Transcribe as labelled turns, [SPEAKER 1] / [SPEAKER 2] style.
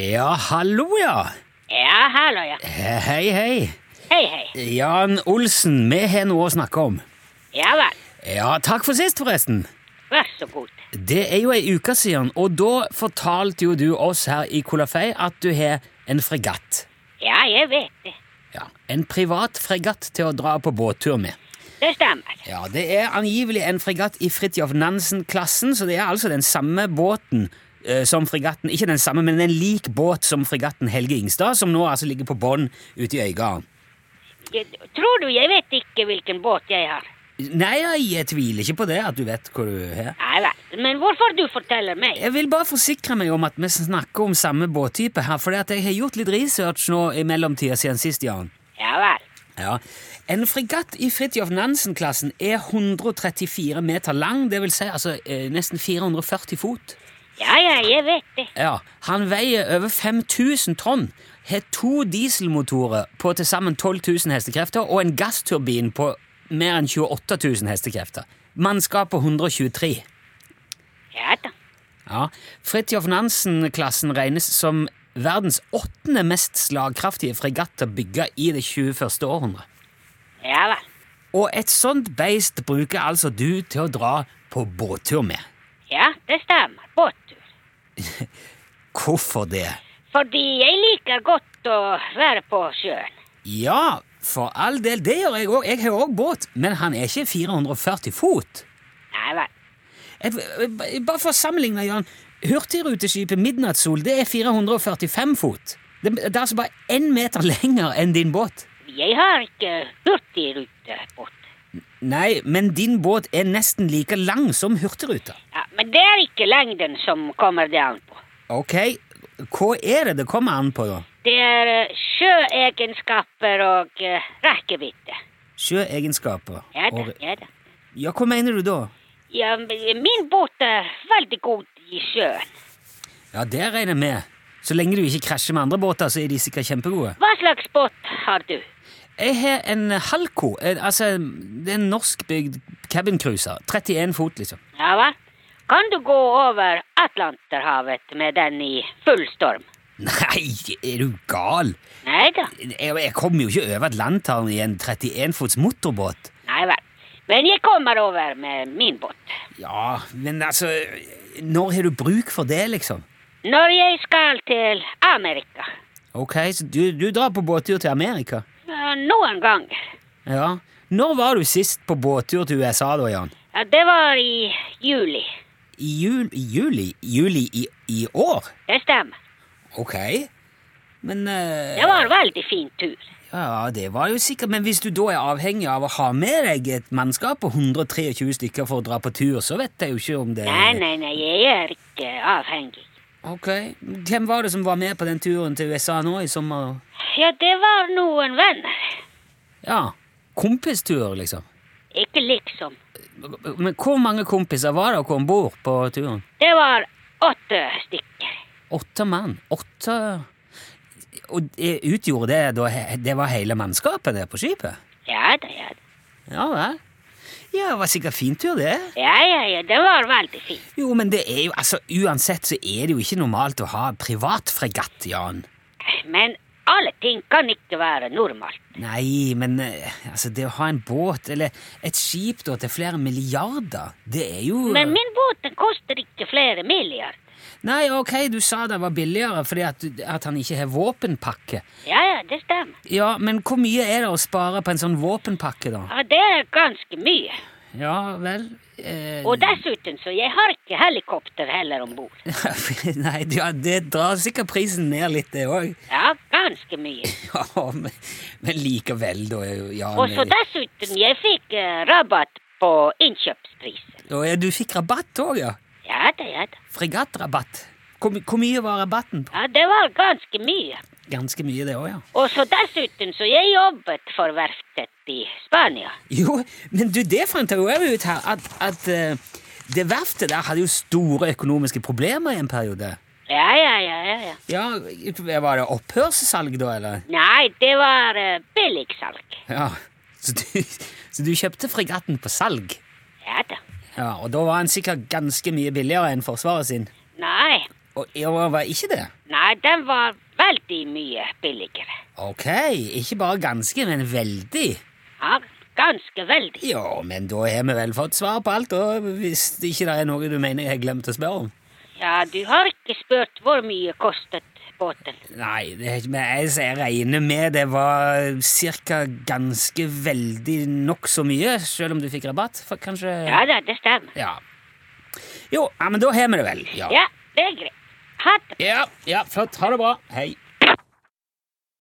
[SPEAKER 1] Ja, hallo, ja.
[SPEAKER 2] Ja, hallo, ja.
[SPEAKER 1] He- Hei, hei.
[SPEAKER 2] Hei, hei.
[SPEAKER 1] Jan Olsen, vi har noe å snakke om.
[SPEAKER 2] Ja vel.
[SPEAKER 1] Ja, takk for sist, forresten.
[SPEAKER 2] Vær så god.
[SPEAKER 1] Det er jo ei uke siden, og da fortalte jo du oss her i Kolafei at du har en fregatt.
[SPEAKER 2] Ja, jeg vet det.
[SPEAKER 1] Ja, En privat fregatt til å dra på båttur med.
[SPEAKER 2] Det stemmer.
[SPEAKER 1] Ja, Det er angivelig en fregatt i Fridtjof Nansen-klassen, så det er altså den samme båten eh, som fregatten Ikke den samme, men en lik båt som fregatten Helge Ingstad, som nå altså ligger på bånn ute i Øygarden.
[SPEAKER 2] Jeg, tror du jeg vet ikke hvilken båt jeg har?
[SPEAKER 1] Nei, jeg, jeg tviler ikke på det, at du vet hvor du er.
[SPEAKER 2] Nei vel. Men hvorfor du forteller meg?
[SPEAKER 1] Jeg vil bare forsikre meg om at vi snakker om samme båttype her, fordi at jeg har gjort litt research nå i mellomtida siden sist, Jan.
[SPEAKER 2] Ja vel.
[SPEAKER 1] Ja. En fregatt i Fridtjof Nansen-klassen er 134 meter lang, det vil si altså eh, nesten 440 fot.
[SPEAKER 2] Ja, ja, jeg vet det.
[SPEAKER 1] Ja, Han veier over 5000 tonn, har to dieselmotorer på til sammen 12 000 hestekrefter og en gassturbin på mer enn 28 000 hestekrefter. Mannskap på 123.
[SPEAKER 2] Ja da.
[SPEAKER 1] Ja, Fridtjof Nansen-klassen regnes som verdens åttende mest slagkraftige fregatter bygget i det 21. århundre.
[SPEAKER 2] Ja vel.
[SPEAKER 1] Og et sånt beist bruker altså du til å dra på båttur med.
[SPEAKER 2] Ja, det stemmer. Båttur.
[SPEAKER 1] Hvorfor det?
[SPEAKER 2] Fordi jeg liker godt å være på sjøen.
[SPEAKER 1] Ja, for all del, det gjør jeg òg. Jeg har òg båt, men han er ikke 440 fot.
[SPEAKER 2] Nei vel.
[SPEAKER 1] Et, bare for å sammenligne, Jan. Hurtigruteskipet Midnattssol det er 445 fot. Det, det er altså bare én meter lenger enn din båt.
[SPEAKER 2] Jeg har ikke hurtigrutebåt.
[SPEAKER 1] Nei, men din båt er nesten like lang som Hurtigruta.
[SPEAKER 2] Ja, men det er ikke lengden som kommer det an på.
[SPEAKER 1] Ok, hva er det det kommer an på, da?
[SPEAKER 2] Det er eh, sjøegenskaper og eh, rekkevidde.
[SPEAKER 1] Sjøegenskaper?
[SPEAKER 2] Ja da,
[SPEAKER 1] og-
[SPEAKER 2] ja da.
[SPEAKER 1] ja, hva mener du da?
[SPEAKER 2] Ja, men min båt er veldig god i sjøen.
[SPEAKER 1] Ja, det regner jeg med. Så lenge du ikke krasjer med andre båter, så er de sikkert kjempegode.
[SPEAKER 2] Hva slags båt har du?
[SPEAKER 1] Jeg har en Halco, en- altså det er en norskbygd cabincruiser. 31 fot, liksom.
[SPEAKER 2] Ja vel? Kan du gå over Atlanterhavet med den i full storm?
[SPEAKER 1] Nei, er du gal?
[SPEAKER 2] Nei da,
[SPEAKER 1] Jeg, jeg kommer jo ikke over Atlanteren i en 31 fots motorbåt.
[SPEAKER 2] nei vel. Men jeg kommer over med min båt.
[SPEAKER 1] Ja, men altså Når har du bruk for det, liksom?
[SPEAKER 2] Når jeg skal til Amerika.
[SPEAKER 1] Ok, så du, du drar på båttur til Amerika?
[SPEAKER 2] Ja, Noen ganger.
[SPEAKER 1] Ja. Når var du sist på båttur til USA, da, Jan?
[SPEAKER 2] Ja, Det var i juli.
[SPEAKER 1] I jul, i juli? Juli i, i år?
[SPEAKER 2] Det stemmer.
[SPEAKER 1] Ok. Men eh,
[SPEAKER 2] Det var en veldig fin tur.
[SPEAKER 1] Ja, det var jo sikkert. Men hvis du da er avhengig av å ha med deg et mannskap på 123 stykker for å dra på tur, så vet jeg jo ikke om det
[SPEAKER 2] Nei, nei, nei, jeg er ikke avhengig.
[SPEAKER 1] Ok. Hvem var det som var med på den turen til USA nå i sommer?
[SPEAKER 2] Ja, det var noen venner.
[SPEAKER 1] Ja, kompistur, liksom.
[SPEAKER 2] Ikke liksom.
[SPEAKER 1] Men hvor mange kompiser var dere om bord på turen?
[SPEAKER 2] Det var åtte stykker.
[SPEAKER 1] Åtte mann. Åtte Og det utgjorde det da he- Det var hele mannskapet det på skipet?
[SPEAKER 2] Ja da, ja da.
[SPEAKER 1] Ja vel. Ja, det var sikkert fin tur, det.
[SPEAKER 2] Ja, ja, ja, det var veldig fint.
[SPEAKER 1] Jo, men det er jo altså Uansett så er det jo ikke normalt å ha privatfregatt, Jan.
[SPEAKER 2] Men alle ting kan ikke være normalt.
[SPEAKER 1] Nei, men eh, altså Det å ha en båt, eller et skip da, til flere milliarder, det er jo
[SPEAKER 2] Men min båt den koster ikke flere milliard.
[SPEAKER 1] Nei, ok, du sa det var billigere fordi at, du- at han ikke har våpenpakke.
[SPEAKER 2] Ja, ja, det stemmer.
[SPEAKER 1] Ja, men hvor mye er det å spare på en sånn våpenpakke, da?
[SPEAKER 2] Ja, det er ganske mye.
[SPEAKER 1] Ja vel eh,
[SPEAKER 2] Og dessuten så jeg har ikke helikopter heller om bord.
[SPEAKER 1] Nei, ja, det drar sikkert prisen ned litt, det òg.
[SPEAKER 2] Ja, ganske mye.
[SPEAKER 1] Ja, men, men likevel, da. Ja,
[SPEAKER 2] Og så
[SPEAKER 1] men-
[SPEAKER 2] dessuten jeg fikk eh, rabatt på innkjøpsprisen.
[SPEAKER 1] Å, ja, du fikk rabatt òg, ja?
[SPEAKER 2] Ja da, ja da.
[SPEAKER 1] Fregattrabatt. Hvor, my- hvor mye var rabatten? på?
[SPEAKER 2] Ja, det var ganske mye.
[SPEAKER 1] Ganske mye, det òg, ja.
[SPEAKER 2] Og så dessuten så jeg jobbet for verftet i Spania.
[SPEAKER 1] Jo, men du, det fant jeg jo også ut her, at, at eh, det verftet der hadde jo store økonomiske problemer i en periode.
[SPEAKER 2] Ja, ja, ja, ja, ja.
[SPEAKER 1] Ja, Var det opphørssalg da, eller?
[SPEAKER 2] Nei, det var eh, billigsalg.
[SPEAKER 1] Ja, Så du, så du kjøpte fregatten på salg?
[SPEAKER 2] Ja da.
[SPEAKER 1] Ja, Og da var den sikkert ganske mye billigere enn Forsvaret sin?
[SPEAKER 2] Nei,
[SPEAKER 1] Og Iowa var ikke det?
[SPEAKER 2] Nei, den var veldig mye billigere.
[SPEAKER 1] Ok, ikke bare ganske, men veldig.
[SPEAKER 2] Ja, ganske veldig.
[SPEAKER 1] Ja, men da har vi vel fått svar på alt, og hvis det ikke er noe du mener jeg har glemt å spørre om.
[SPEAKER 2] Ja, du har ikke spurt hvor mye kostet båten.
[SPEAKER 1] Nei, det er ikke, men jeg, jeg regner med det var cirka ganske veldig nok så mye, selv om du fikk rabatt, for kanskje...
[SPEAKER 2] Ja da, det stemmer.
[SPEAKER 1] Ja. Jo, ja, men da har vi det vel. Ja.
[SPEAKER 2] Ja, det er greit. Ha det.
[SPEAKER 1] ja, ja, flott. Ha det bra. Hei.